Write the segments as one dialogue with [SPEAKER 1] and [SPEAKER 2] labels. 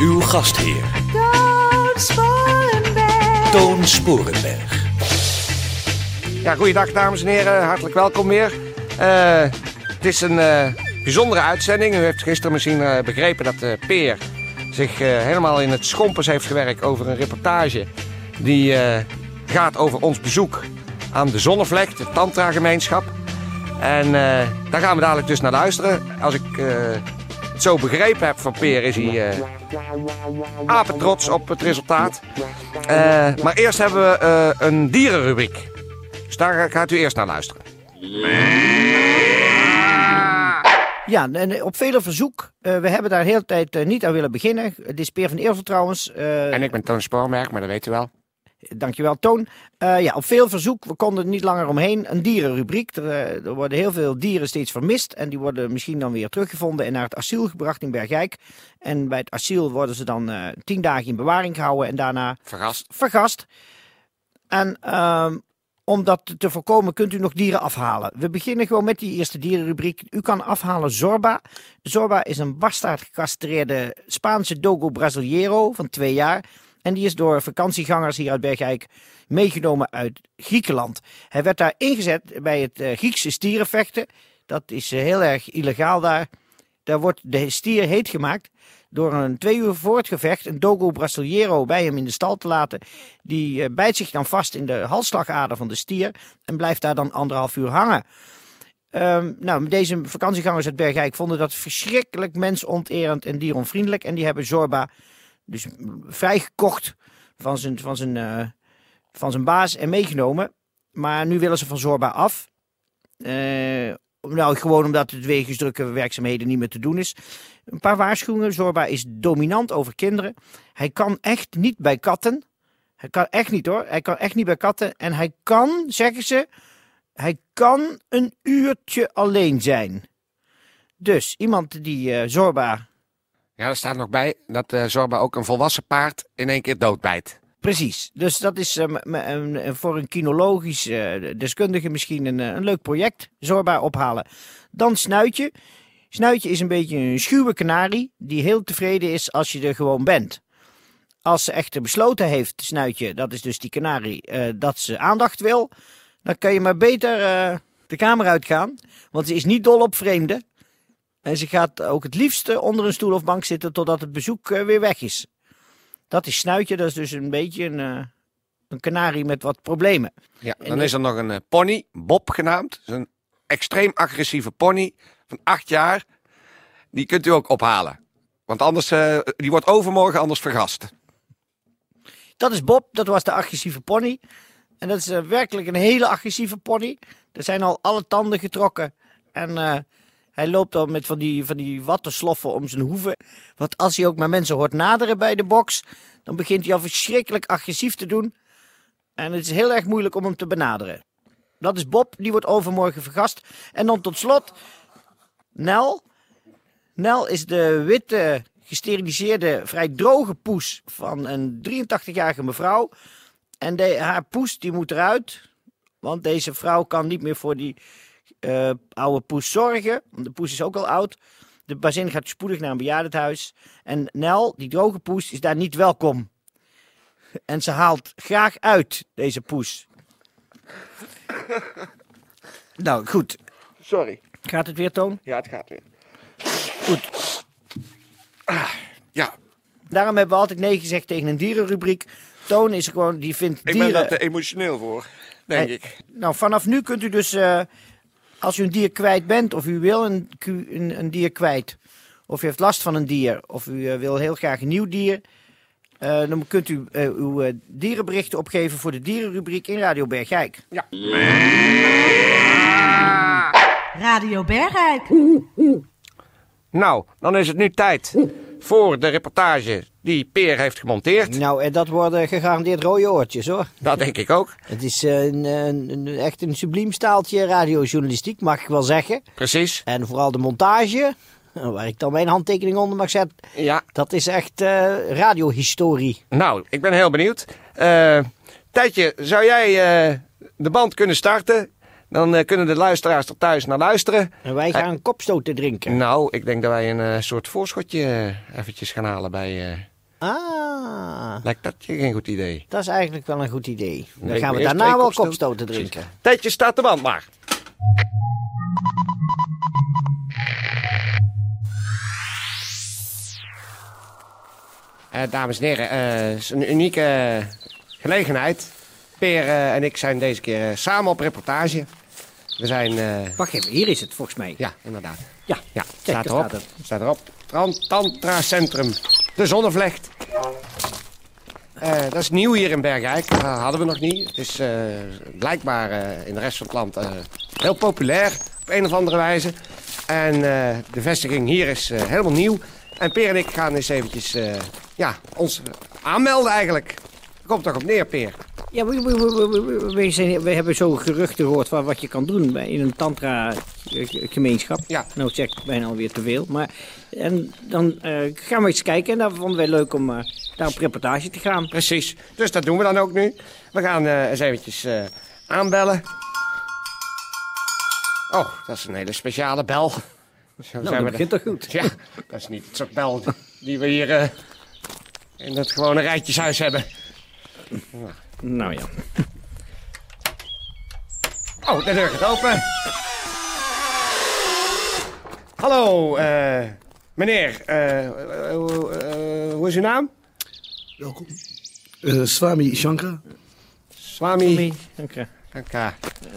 [SPEAKER 1] Uw gastheer
[SPEAKER 2] Toon Sporenberg.
[SPEAKER 1] Toon Sporenberg.
[SPEAKER 3] Ja, goeiedag dames en heren. Hartelijk welkom weer. Eh, het is een eh, bijzondere uitzending. U heeft gisteren misschien eh, begrepen dat eh, Peer zich eh, helemaal in het schompers heeft gewerkt over een reportage. Die eh, gaat over ons bezoek aan de Zonnevlek, de Tantra gemeenschap. En eh, daar gaan we dadelijk dus naar luisteren. Als ik eh, het zo begrepen heb van Peer is hij eh apetrots op het resultaat. Eh, maar eerst hebben we eh, een dierenrubriek. Dus daar gaat u eerst naar luisteren.
[SPEAKER 4] Ja, en eh, op vele verzoek. Eh, we hebben daar de hele tijd eh, niet aan willen beginnen. Dit is Peer van Eervel trouwens. Eh,
[SPEAKER 3] En ik ben Toon Spoormerk, maar dat weet u wel.
[SPEAKER 4] Dankjewel, Toon. Eh, ja, op veel verzoek, we konden er niet langer omheen, een dierenrubriek. Er, eh, er worden heel veel dieren steeds vermist en die worden misschien dan weer teruggevonden en naar het asiel gebracht in Bergijk. En bij het asiel worden ze dan eh, tien dagen in bewaring gehouden en daarna
[SPEAKER 3] Verrast.
[SPEAKER 4] vergast. En ehm, om dat te voorkomen kunt u nog dieren afhalen. We beginnen gewoon met die eerste dierenrubriek. U kan afhalen Zorba. Zorba is een bastaard gecastreerde Spaanse Dogo Brasileiro van twee jaar. En die is door vakantiegangers hier uit Bergijk meegenomen uit Griekenland. Hij werd daar ingezet bij het eh, Griekse stierenvechten. Dat is eh, heel erg illegaal daar. Daar wordt de stier heet gemaakt door een twee uur voor het gevecht een Dogo Brasileiro bij hem in de stal te laten. Die eh, bijt zich dan vast in de halsslagader van de stier en blijft daar dan anderhalf uur hangen. Ehm, nou, deze vakantiegangers uit Bergijk vonden dat verschrikkelijk mensonterend en dieronvriendelijk. En die hebben Zorba dus vrijgekocht van zijn, van zijn, eh, van zijn baas en meegenomen. Maar nu willen ze van Zorba af. Eh, nou, gewoon omdat het wegens drukke werkzaamheden niet meer te doen is. Een paar waarschuwingen. Zorba is dominant over kinderen. Hij kan echt niet bij katten. Hij kan echt niet hoor. Hij kan echt niet bij katten. En hij kan, zeggen ze, hij kan een uurtje alleen zijn. Dus iemand die eh, Zorba.
[SPEAKER 3] Ja, er staat nog bij dat eh, Zorba ook een volwassen paard in één keer doodbijt.
[SPEAKER 4] Precies. Dus dat is eh, m- m- een- een- voor een kinologisch eh, deskundige misschien een, eh, een leuk project. Zorba ophalen. Dan Snuitje. Snuitje is een beetje een schuwe kanarie die heel tevreden is als je er gewoon bent. Als ze echter besloten heeft, Snuitje, dat is dus die kanarie, eh, dat ze aandacht wil, dan kan je maar beter eh, de kamer uitgaan. Want ze is niet dol op vreemden. En ze gaat ook het liefst eh, onder een stoel of bank zitten totdat het bezoek eh, weer weg is. Dat is Snuitje, dat is dus een beetje een, eh, een kanarie met wat problemen.
[SPEAKER 3] Ja, dan
[SPEAKER 4] En-
[SPEAKER 3] is er nog een eh, pony, Bob genaamd. Dat is een extreem agressieve pony van acht jaar. Die kunt u ook ophalen. Want anders, eh, die wordt overmorgen anders vergast.
[SPEAKER 4] Dat is Bob, dat was de agressieve pony. En dat is eh, werkelijk een hele agressieve pony. Er zijn al alle tanden getrokken. En eh, hij loopt al met van die, van die wattensloffen om zijn hoeven. Want als hij ook maar mensen hoort naderen bij de box, dan begint hij al verschrikkelijk agressief te doen. En het is heel erg moeilijk om hem te benaderen. Dat is Bob, die wordt overmorgen vergast. En dan tot slot, Nel. Nel is de witte, gesteriliseerde, vrij droge poes van een 83-jarige mevrouw. En de- haar poes die moet eruit, want deze vrouw kan niet meer voor die eh, oude poes zorgen. Want de poes is ook al oud. De bazin gaat spoedig naar een bejaardentehuis. En Nel, die droge poes, is daar niet welkom. En ze haalt graag uit, deze poes. nou, goed.
[SPEAKER 3] Sorry.
[SPEAKER 4] Gaat het weer, Toon?
[SPEAKER 3] Ja, het gaat weer.
[SPEAKER 4] Goed.
[SPEAKER 3] Ja,
[SPEAKER 4] Daarom hebben we altijd nee gezegd tegen een dierenrubriek. Toon is gewoon, die vindt
[SPEAKER 3] ik
[SPEAKER 4] dieren...
[SPEAKER 3] ben eh, daar te emotioneel voor, denk
[SPEAKER 4] Hey,
[SPEAKER 3] ik.
[SPEAKER 4] Nou, vanaf nu kunt u dus, eh, als u een dier kwijt bent, of u wil een, ku- een, een dier kwijt, of u heeft last van een dier, of u eh, wil heel graag een nieuw dier, eh, dan kunt u eh, uw eh, dierenberichten opgeven voor de dierenrubriek in Radio Bergijk.
[SPEAKER 2] Radio Bergijk.
[SPEAKER 3] Nou, dan is het nu tijd voor de reportage die Peer heeft gemonteerd.
[SPEAKER 4] Nou, en dat worden gegarandeerd rode oortjes hoor.
[SPEAKER 3] Dat denk ik ook.
[SPEAKER 4] Het is eh, een, een, een- echt een subliem staaltje radiojournalistiek, mag ik wel zeggen.
[SPEAKER 3] Precies.
[SPEAKER 4] En vooral de montage, eh, waar ik dan mijn handtekening onder mag zetten.
[SPEAKER 3] Ja,
[SPEAKER 4] Dat is echt eh, radiohistorie.
[SPEAKER 3] nou, ik ben heel benieuwd. Eh Tijdje, zou jij eh, de band kunnen starten? Dan eh, kunnen de luisteraars er thuis naar luisteren.
[SPEAKER 4] En wij gaan kopstoten drinken.
[SPEAKER 3] Nou, ik denk dat wij een eh, soort voorschotje eh, eventjes gaan halen bij... eh
[SPEAKER 4] Ah,
[SPEAKER 3] lijkt dat je geen goed idee?
[SPEAKER 4] dat is eigenlijk wel een goed idee. Dan
[SPEAKER 3] Nee,
[SPEAKER 4] gaan we
[SPEAKER 3] eerst
[SPEAKER 4] daarna
[SPEAKER 3] twee
[SPEAKER 4] wel
[SPEAKER 3] kopstoten.
[SPEAKER 4] kopstoten drinken.
[SPEAKER 3] Tijdje, staat de band maar. dames en heren, eh, het is een unieke eh, gelegenheid. Peer eh, en ik zijn deze keer eh, samen op reportage. We zijn... eh,
[SPEAKER 4] Wacht even, hier is het volgens mij.
[SPEAKER 3] ja, inderdaad.
[SPEAKER 4] Ja,
[SPEAKER 3] Ja,
[SPEAKER 4] Kijk,
[SPEAKER 3] staat
[SPEAKER 4] daar
[SPEAKER 3] erop.
[SPEAKER 4] staat
[SPEAKER 3] Staat erop. Tran- Tantra Centrum. De Zonnevlecht. Eh, dat is nieuw hier in Bergijk. Dat hadden we nog niet. Het is eh, blijkbaar eh, in de rest van het land eh, heel populair. Op een of andere wijze. En eh, de vestiging hier is eh, helemaal nieuw. En Peer en ik gaan eens eventjes eh, ja, ons aanmelden eigenlijk. Daar komt toch op neer, Peer.
[SPEAKER 4] Ja, we, we, we- we- we- we zijn, we hebben zo geruchten gehoord van wat je kan doen bij- in een tantra-gemeenschap.
[SPEAKER 3] Ja.
[SPEAKER 4] Nou, zeg ik bijna alweer te veel. Maar, en dan eh, gaan we eens kijken. En daar vonden wij leuk om eh, daar op reportage te gaan.
[SPEAKER 3] Precies. Dus dat doen we dan ook nu. We gaan eh, eens eventjes eh, aanbellen. Oh, dat is een hele speciale bel. Zo zijn
[SPEAKER 4] Nou, dat
[SPEAKER 3] we
[SPEAKER 4] begint
[SPEAKER 3] er-
[SPEAKER 4] toch goed?
[SPEAKER 3] Ja, dat is niet het soort bel die we hier eh, in het gewone rijtjeshuis hebben.
[SPEAKER 4] Nou ja.
[SPEAKER 3] Oh, de deur gaat open. Hallo, eh, meneer. eh, eh, hoe- eh, hoe is uw naam?
[SPEAKER 5] Welkom. Eh, Swami Shankar.
[SPEAKER 3] Swami.
[SPEAKER 4] Dank
[SPEAKER 3] Kanka.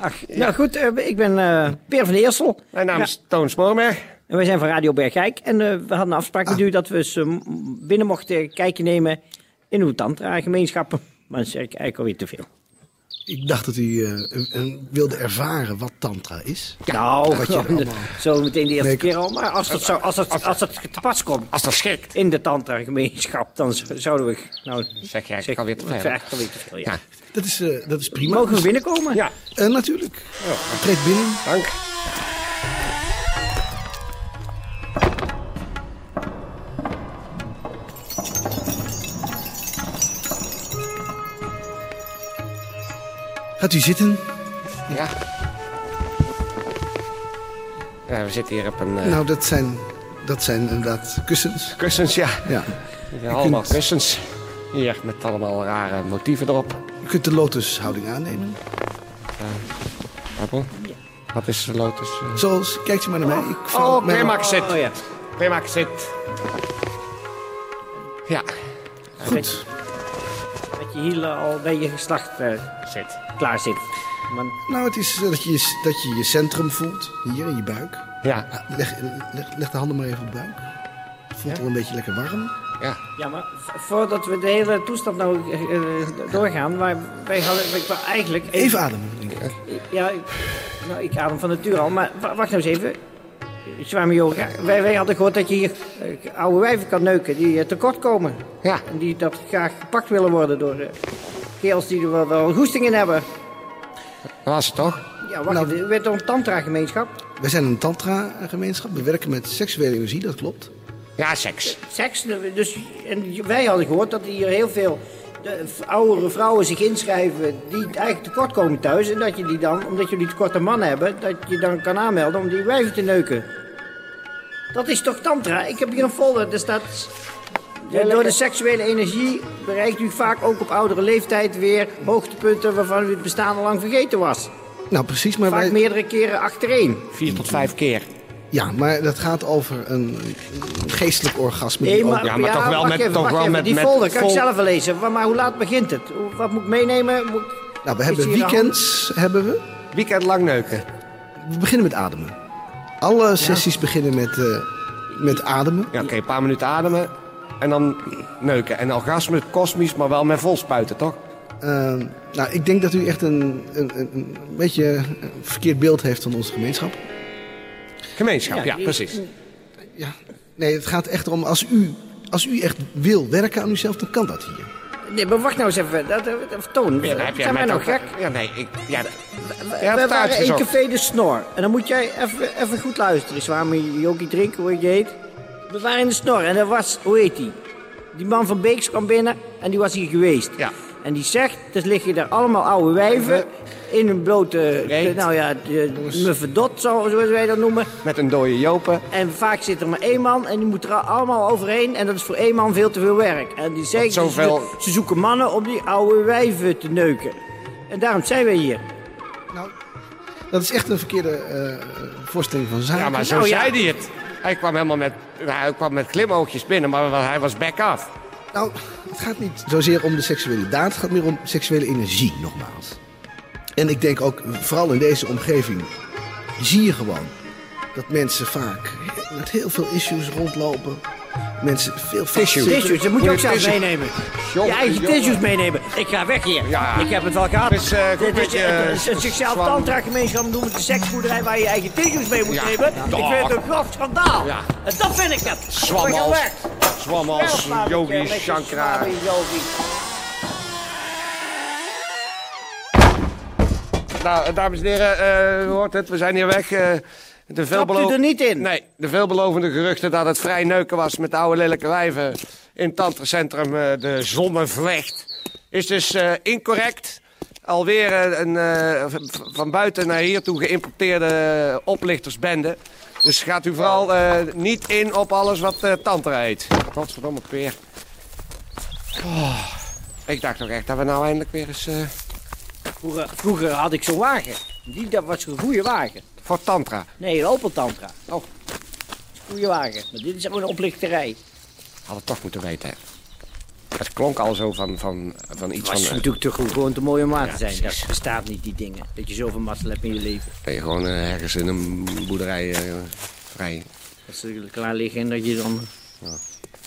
[SPEAKER 4] Ach, nou goed, eh, ik ben eh Peer van de Eersel.
[SPEAKER 3] Mijn naam is Toon Spoorberg.
[SPEAKER 4] En wij zijn van Radio Bergijk. En eh, we hadden een afspraak met u dat we eens eh, m- binnen mochten kijken nemen in uw tantra-gemeenschappen. Maar dat zeg ik eigenlijk alweer te veel.
[SPEAKER 5] Ik dacht dat u eh, een- een wilde ervaren wat tantra is.
[SPEAKER 4] nou,
[SPEAKER 3] Oh,
[SPEAKER 4] wat je zo meteen de eerste
[SPEAKER 5] Nee, ik-
[SPEAKER 4] keer al. Maar als dat, zou, als, dat, als dat te pas komt
[SPEAKER 3] Als dat schikt.
[SPEAKER 4] in de tantra-gemeenschap, dan z- zouden we... Nou,
[SPEAKER 3] Zeg jij, ik kan weer te
[SPEAKER 4] dat is
[SPEAKER 3] veel.
[SPEAKER 4] eigenlijk alweer te veel, ja.
[SPEAKER 3] Ja.
[SPEAKER 5] Dat is, eh, dat is prima.
[SPEAKER 4] Mogen we binnenkomen?
[SPEAKER 3] Ja,
[SPEAKER 5] Eh, natuurlijk. Treed binnen.
[SPEAKER 3] dank.
[SPEAKER 5] Gaat u zitten.
[SPEAKER 3] Ja. Ja, we zitten hier op een eh,
[SPEAKER 5] Nou, dat zijn, dat zijn inderdaad kussens.
[SPEAKER 3] kussens, ja.
[SPEAKER 5] Ja.
[SPEAKER 3] Er zijn allemaal
[SPEAKER 5] kunt-
[SPEAKER 3] kussens. Hier, met allemaal rare motieven erop.
[SPEAKER 5] U kunt de lotushouding aannemen.
[SPEAKER 3] Appel. Wat is de lotus?
[SPEAKER 5] Oh,
[SPEAKER 3] eh?
[SPEAKER 5] Zoals, kijkt u maar naar mij. Ik val
[SPEAKER 3] Oh,
[SPEAKER 5] mij
[SPEAKER 3] prima
[SPEAKER 4] Oh,
[SPEAKER 3] zit.
[SPEAKER 4] ja.
[SPEAKER 3] Prima zit. Ja,
[SPEAKER 5] Goed.
[SPEAKER 4] Dat je hielen al bij je geslacht eh,
[SPEAKER 3] zit.
[SPEAKER 4] klaar zit. Maar,
[SPEAKER 5] Nou, het is eh, dat je je, dat je je centrum voelt. Hier in je buik.
[SPEAKER 3] Ja,
[SPEAKER 5] Ah, Leg, leg, leg de handen maar even op de buik. Voelt wel een beetje lekker warm.
[SPEAKER 3] ja.
[SPEAKER 4] Ja, maar v- voordat we de hele toestand nou eh, doorgaan, maar wij hadden ik wou eigenlijk...
[SPEAKER 5] Even ademen. denk ik.
[SPEAKER 4] Ja, ik, nou, ik adem van nature al, maar wa- wacht nou eens even. Swami Yoga, wij, wij hadden gehoord dat je hier eh, oude wijven kan neuken die eh, tekortkomen.
[SPEAKER 3] Ja.
[SPEAKER 4] En die dat graag gepakt willen worden door eh kerels die er wel, wel goesting in hebben.
[SPEAKER 3] Dat was het toch?
[SPEAKER 4] Ja, wacht even, u bent toch een tantra-gemeenschap?
[SPEAKER 5] Wij zijn een tantra-gemeenschap. We werken met seksuele energie, dat klopt.
[SPEAKER 3] Ja, seks.
[SPEAKER 4] Seks, dus, en wij hadden gehoord dat hier heel veel de, oudere vrouwen zich inschrijven die eigenlijk tekort komen thuis. En dat je die dan, omdat jullie tekort aan mannen hebben, dat je dan kan aanmelden om die wijven te neuken. Dat is toch tantra? Ik heb hier een folder, daar staat... door de seksuele energie bereikt u vaak ook op oudere leeftijd weer hoogtepunten waarvan u het bestaan al lang vergeten was.
[SPEAKER 5] Nou, precies, maar
[SPEAKER 4] Vaak
[SPEAKER 5] wij...
[SPEAKER 4] meerdere keren achtereen.
[SPEAKER 3] Vier tot vijf keer.
[SPEAKER 5] Ja, maar dat gaat over een een geestelijk orgasme. die
[SPEAKER 4] Nee, maar,
[SPEAKER 5] ook-
[SPEAKER 3] Ja, maar toch wel
[SPEAKER 4] wacht
[SPEAKER 3] met-
[SPEAKER 4] even,
[SPEAKER 3] toch
[SPEAKER 4] wacht
[SPEAKER 3] wel
[SPEAKER 4] even.
[SPEAKER 3] met-
[SPEAKER 4] die
[SPEAKER 3] met
[SPEAKER 4] folder kan
[SPEAKER 3] vol-
[SPEAKER 4] ik zelf wel lezen. Maar, maar hoe laat begint het? Hoe- Wat moet ik meenemen? Moet ik-
[SPEAKER 5] Nou, we
[SPEAKER 4] Is
[SPEAKER 5] hebben
[SPEAKER 4] hier een
[SPEAKER 5] weekends, hebben we.
[SPEAKER 3] Weekend lang neuken.
[SPEAKER 5] We beginnen met ademen. Alle sessies beginnen met, eh, met ademen.
[SPEAKER 3] Ja, oké, een paar minuten ademen. En dan neuken. En orgasme kosmisch, maar wel met vol spuiten, toch?
[SPEAKER 5] Ehm, nou, ik denk dat u echt een, een, een, een beetje een verkeerd beeld heeft van onze gemeenschap.
[SPEAKER 3] Gemeenschap, ja, precies.
[SPEAKER 5] ja. Nee, het gaat echt om als u, als u echt wil werken aan uzelf, dan kan dat hier.
[SPEAKER 4] Nee, maar wacht nou eens even. Dat, dat, dat- toon,
[SPEAKER 3] Ja, dan heb jij
[SPEAKER 4] zijn wij
[SPEAKER 3] mij
[SPEAKER 4] nou
[SPEAKER 3] toch-
[SPEAKER 4] gek?
[SPEAKER 3] Ja, nee, ik... Ja,
[SPEAKER 4] We
[SPEAKER 3] hebt het
[SPEAKER 4] waren in
[SPEAKER 3] uitgezocht.
[SPEAKER 4] Café de Snor. En dan moet jij even, even goed luisteren. Is waarom je Jokie drinken, hoe je heet. We waren in de Snor en dat was, hoe heet die? Die man van Beeks kwam binnen en die was hier geweest.
[SPEAKER 3] Ja.
[SPEAKER 4] En die zegt, dus liggen daar allemaal oude wijven in een blote,
[SPEAKER 3] Reet.
[SPEAKER 4] nou ja, de- muffedot, zo- zoals wij dat noemen.
[SPEAKER 3] met een dode jopen.
[SPEAKER 4] En vaak zit er maar één man en die moet er allemaal overheen. En dat is voor één man veel te veel werk. En die zegt,
[SPEAKER 3] zoveel-
[SPEAKER 4] ze, ze zoeken mannen om die oude wijven te neuken. En daarom zijn wij hier.
[SPEAKER 5] Nou, dat is echt een verkeerde eh, voorstelling van zaken.
[SPEAKER 3] Ja, maar zo
[SPEAKER 4] Nou, ja.
[SPEAKER 3] zei hij het. Hij kwam helemaal met, nou, hij kwam met glimoogjes binnen, maar wa- hij was back af.
[SPEAKER 5] Nou, het gaat niet zozeer om de seksuele daad. Het gaat meer om seksuele energie, nogmaals. En ik denk ook, vooral in deze omgeving, zie je gewoon dat mensen vaak met heel veel issues rondlopen. Mensen veel vastzitten.
[SPEAKER 4] Tissues, dat moet je ook zelf
[SPEAKER 3] Tissues.
[SPEAKER 4] meenemen.
[SPEAKER 3] Jongen,
[SPEAKER 4] Je eigen
[SPEAKER 3] jongen.
[SPEAKER 4] tissues meenemen. Ik ga weg hier.
[SPEAKER 3] Ja.
[SPEAKER 4] Ik heb het al gehad.
[SPEAKER 3] Het is, eh, goed
[SPEAKER 4] Dit
[SPEAKER 3] met
[SPEAKER 4] is,
[SPEAKER 3] je,
[SPEAKER 4] eh, het is een
[SPEAKER 3] eh,
[SPEAKER 4] zichzelf
[SPEAKER 3] zwang.
[SPEAKER 4] tantra-gemeenschap noemen het een seksboerderij waar je je eigen tissues mee moet
[SPEAKER 3] Ja.
[SPEAKER 4] nemen. Ik vind het een grof schandaal.
[SPEAKER 3] Ja.
[SPEAKER 4] En dat vind ik het. We gaan
[SPEAKER 3] Zwamals,
[SPEAKER 4] weg.
[SPEAKER 3] zwamals,
[SPEAKER 4] Wel, Fabeltje,
[SPEAKER 3] yogi,
[SPEAKER 4] met je
[SPEAKER 3] shankra.
[SPEAKER 4] Swami Yogi.
[SPEAKER 3] Nou, eh, dames en heren, eh, u hoort het, we zijn hier weg. eh, de veelbelo-
[SPEAKER 4] Trapt u er niet in?
[SPEAKER 3] Nee, de veelbelovende geruchten dat het vrij neuken was met de oude lelijke wijven in het tantracentrum eh, de Zonnevlecht is dus eh, incorrect. Alweer eh, een eh, v- v- van buiten naar hier toe geïmporteerde eh, oplichtersbende. Dus gaat u vooral eh, niet in op alles wat eh, tantra heet. Godverdomme peer. Oh, ik dacht nog echt dat we nou eindelijk weer eens eh,
[SPEAKER 4] Vroeger, vroeger had ik zo'n wagen. Die dat was een goede wagen.
[SPEAKER 3] voor tantra.
[SPEAKER 4] Nee, een Opel Tantra.
[SPEAKER 3] Oh.
[SPEAKER 4] Goede wagen. Maar dit is gewoon een oplichterij.
[SPEAKER 3] Had het toch moeten weten. hè? Het klonk al zo van, van, van iets
[SPEAKER 4] Het is
[SPEAKER 3] van... eh,
[SPEAKER 4] natuurlijk te goed, gewoon te mooi om waar te zijn.
[SPEAKER 3] precies.
[SPEAKER 4] Dat bestaat niet, die dingen. Dat je zoveel mazzel hebt in je leven.
[SPEAKER 3] dat je gewoon eh, ergens in een boerderij eh, vrij...
[SPEAKER 4] Dat ze er klaar liggen en dat je dan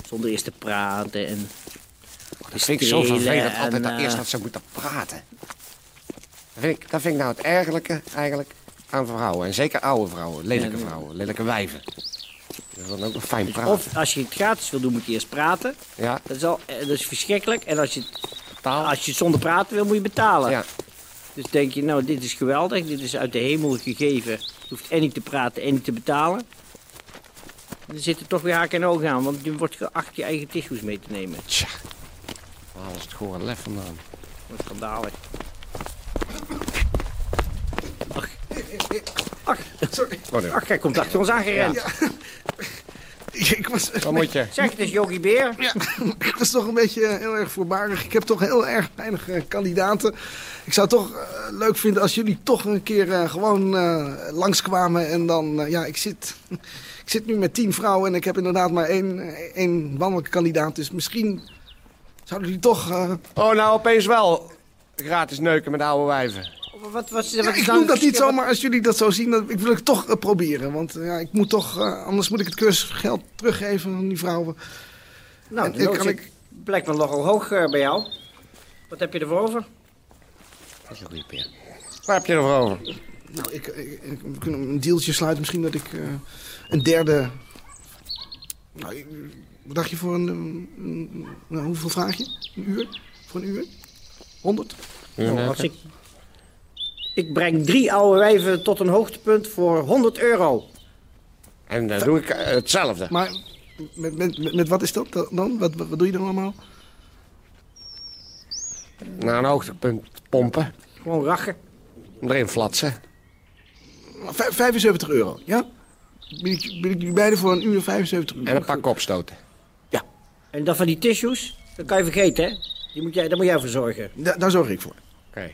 [SPEAKER 4] zonder eerst te praten en...
[SPEAKER 3] Dat vind ik zo
[SPEAKER 4] Strelen
[SPEAKER 3] vervelend,
[SPEAKER 4] en,
[SPEAKER 3] altijd dat
[SPEAKER 4] eh,
[SPEAKER 3] eerst dat ze moeten praten. Dat vind, ik, dat vind ik nou het ergelijke eigenlijk aan vrouwen. En zeker oude vrouwen, lelijke vrouwen, lelijke wijven. Dat is dan ook een fijn praten.
[SPEAKER 4] Dus Of als je het gratis wil doen, moet je eerst praten.
[SPEAKER 3] ja,
[SPEAKER 4] Dat is, al, eh, dat is verschrikkelijk. En als je, het-
[SPEAKER 3] taal.
[SPEAKER 4] als je het zonder praten wil, moet je betalen.
[SPEAKER 3] Oh. Ja,
[SPEAKER 4] Dus denk je, nou, dit is geweldig. Dit is uit de hemel gegeven. Je hoeft en niet te praten en niet te betalen. Er zitten toch weer haken en ogen aan, want je wordt geacht je eigen tissues mee te nemen.
[SPEAKER 3] tja. Waar halen ze het gewoon lef vandaan?
[SPEAKER 4] Wat schandalig. Ach. Ach.
[SPEAKER 3] Sorry.
[SPEAKER 4] Ach, hij komt achter ons aangerend.
[SPEAKER 5] Ik was,
[SPEAKER 3] Wat moet je?
[SPEAKER 4] Zeg, het is Jokie Beer.
[SPEAKER 5] ja, ik was toch een beetje eh, heel erg voorbarig. Ik heb toch heel erg weinig eh, kandidaten. Ik zou het toch eh, leuk vinden als jullie toch een keer eh, gewoon eh, langskwamen. En dan, eh, ja, ik zit, ik zit nu met tien vrouwen en ik heb inderdaad maar één, eh, één mannelijke kandidaat. Dus misschien zouden jullie toch... eh,
[SPEAKER 3] Oh, nou opeens wel. Gratis neuken met oude wijven.
[SPEAKER 4] Wat, wat, wat,
[SPEAKER 5] Ja,
[SPEAKER 4] is
[SPEAKER 5] ik
[SPEAKER 4] nou
[SPEAKER 5] doe dat niet
[SPEAKER 4] verschil?
[SPEAKER 5] zomaar als jullie dat zo zien. Dat, ik wil het toch eh, proberen. Want eh, ja, ik moet toch, eh, anders moet ik het cursusgeld teruggeven aan die vrouwen.
[SPEAKER 4] Nou,
[SPEAKER 5] En
[SPEAKER 4] de
[SPEAKER 5] ik
[SPEAKER 4] lood
[SPEAKER 5] kan
[SPEAKER 4] zit
[SPEAKER 5] ik-
[SPEAKER 4] blijkbaar nogal hoog eh, bij jou. Wat heb je ervoor over?
[SPEAKER 3] Dat is een goede peer. Waar heb je ervoor over?
[SPEAKER 5] Nou, ik, ik, ik- we kunnen een deeltje sluiten. Misschien dat ik eh, een derde... Nou, ik- wat dacht je voor een... een- een- nou, hoeveel vraag je? Een uur? Voor een uur? 100?
[SPEAKER 4] Nou, als ik... ik breng drie oude wijven tot een hoogtepunt voor 100 euro.
[SPEAKER 3] En dan doe ik eh, hetzelfde.
[SPEAKER 5] Maar met, met, met, met wat is dat dan? Wat, wat, wat doe je dan allemaal?
[SPEAKER 3] Naar een hoogtepunt pompen.
[SPEAKER 4] Gewoon rachen.
[SPEAKER 3] Om erin flatsen.
[SPEAKER 5] Vijf- 75 Nou, euro, ja? Ben ik, ben ik jullie beiden voor een uur 75 euro?
[SPEAKER 3] En een paar kopstoten.
[SPEAKER 4] En dan van die tissues, dat kan je vergeten, hè? Die moet jij, daar moet jij voor zorgen.
[SPEAKER 5] Da- daar zorg ik voor.
[SPEAKER 3] Oké.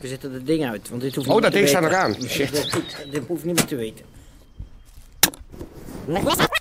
[SPEAKER 4] We zetten dat ding uit, want dit hoeft
[SPEAKER 3] Oh,
[SPEAKER 4] niet
[SPEAKER 3] dat
[SPEAKER 4] meer te
[SPEAKER 3] ding staat
[SPEAKER 4] weten.
[SPEAKER 3] nog aan. Shit.
[SPEAKER 4] Dit hoeft- Dit hoeft niet meer te weten.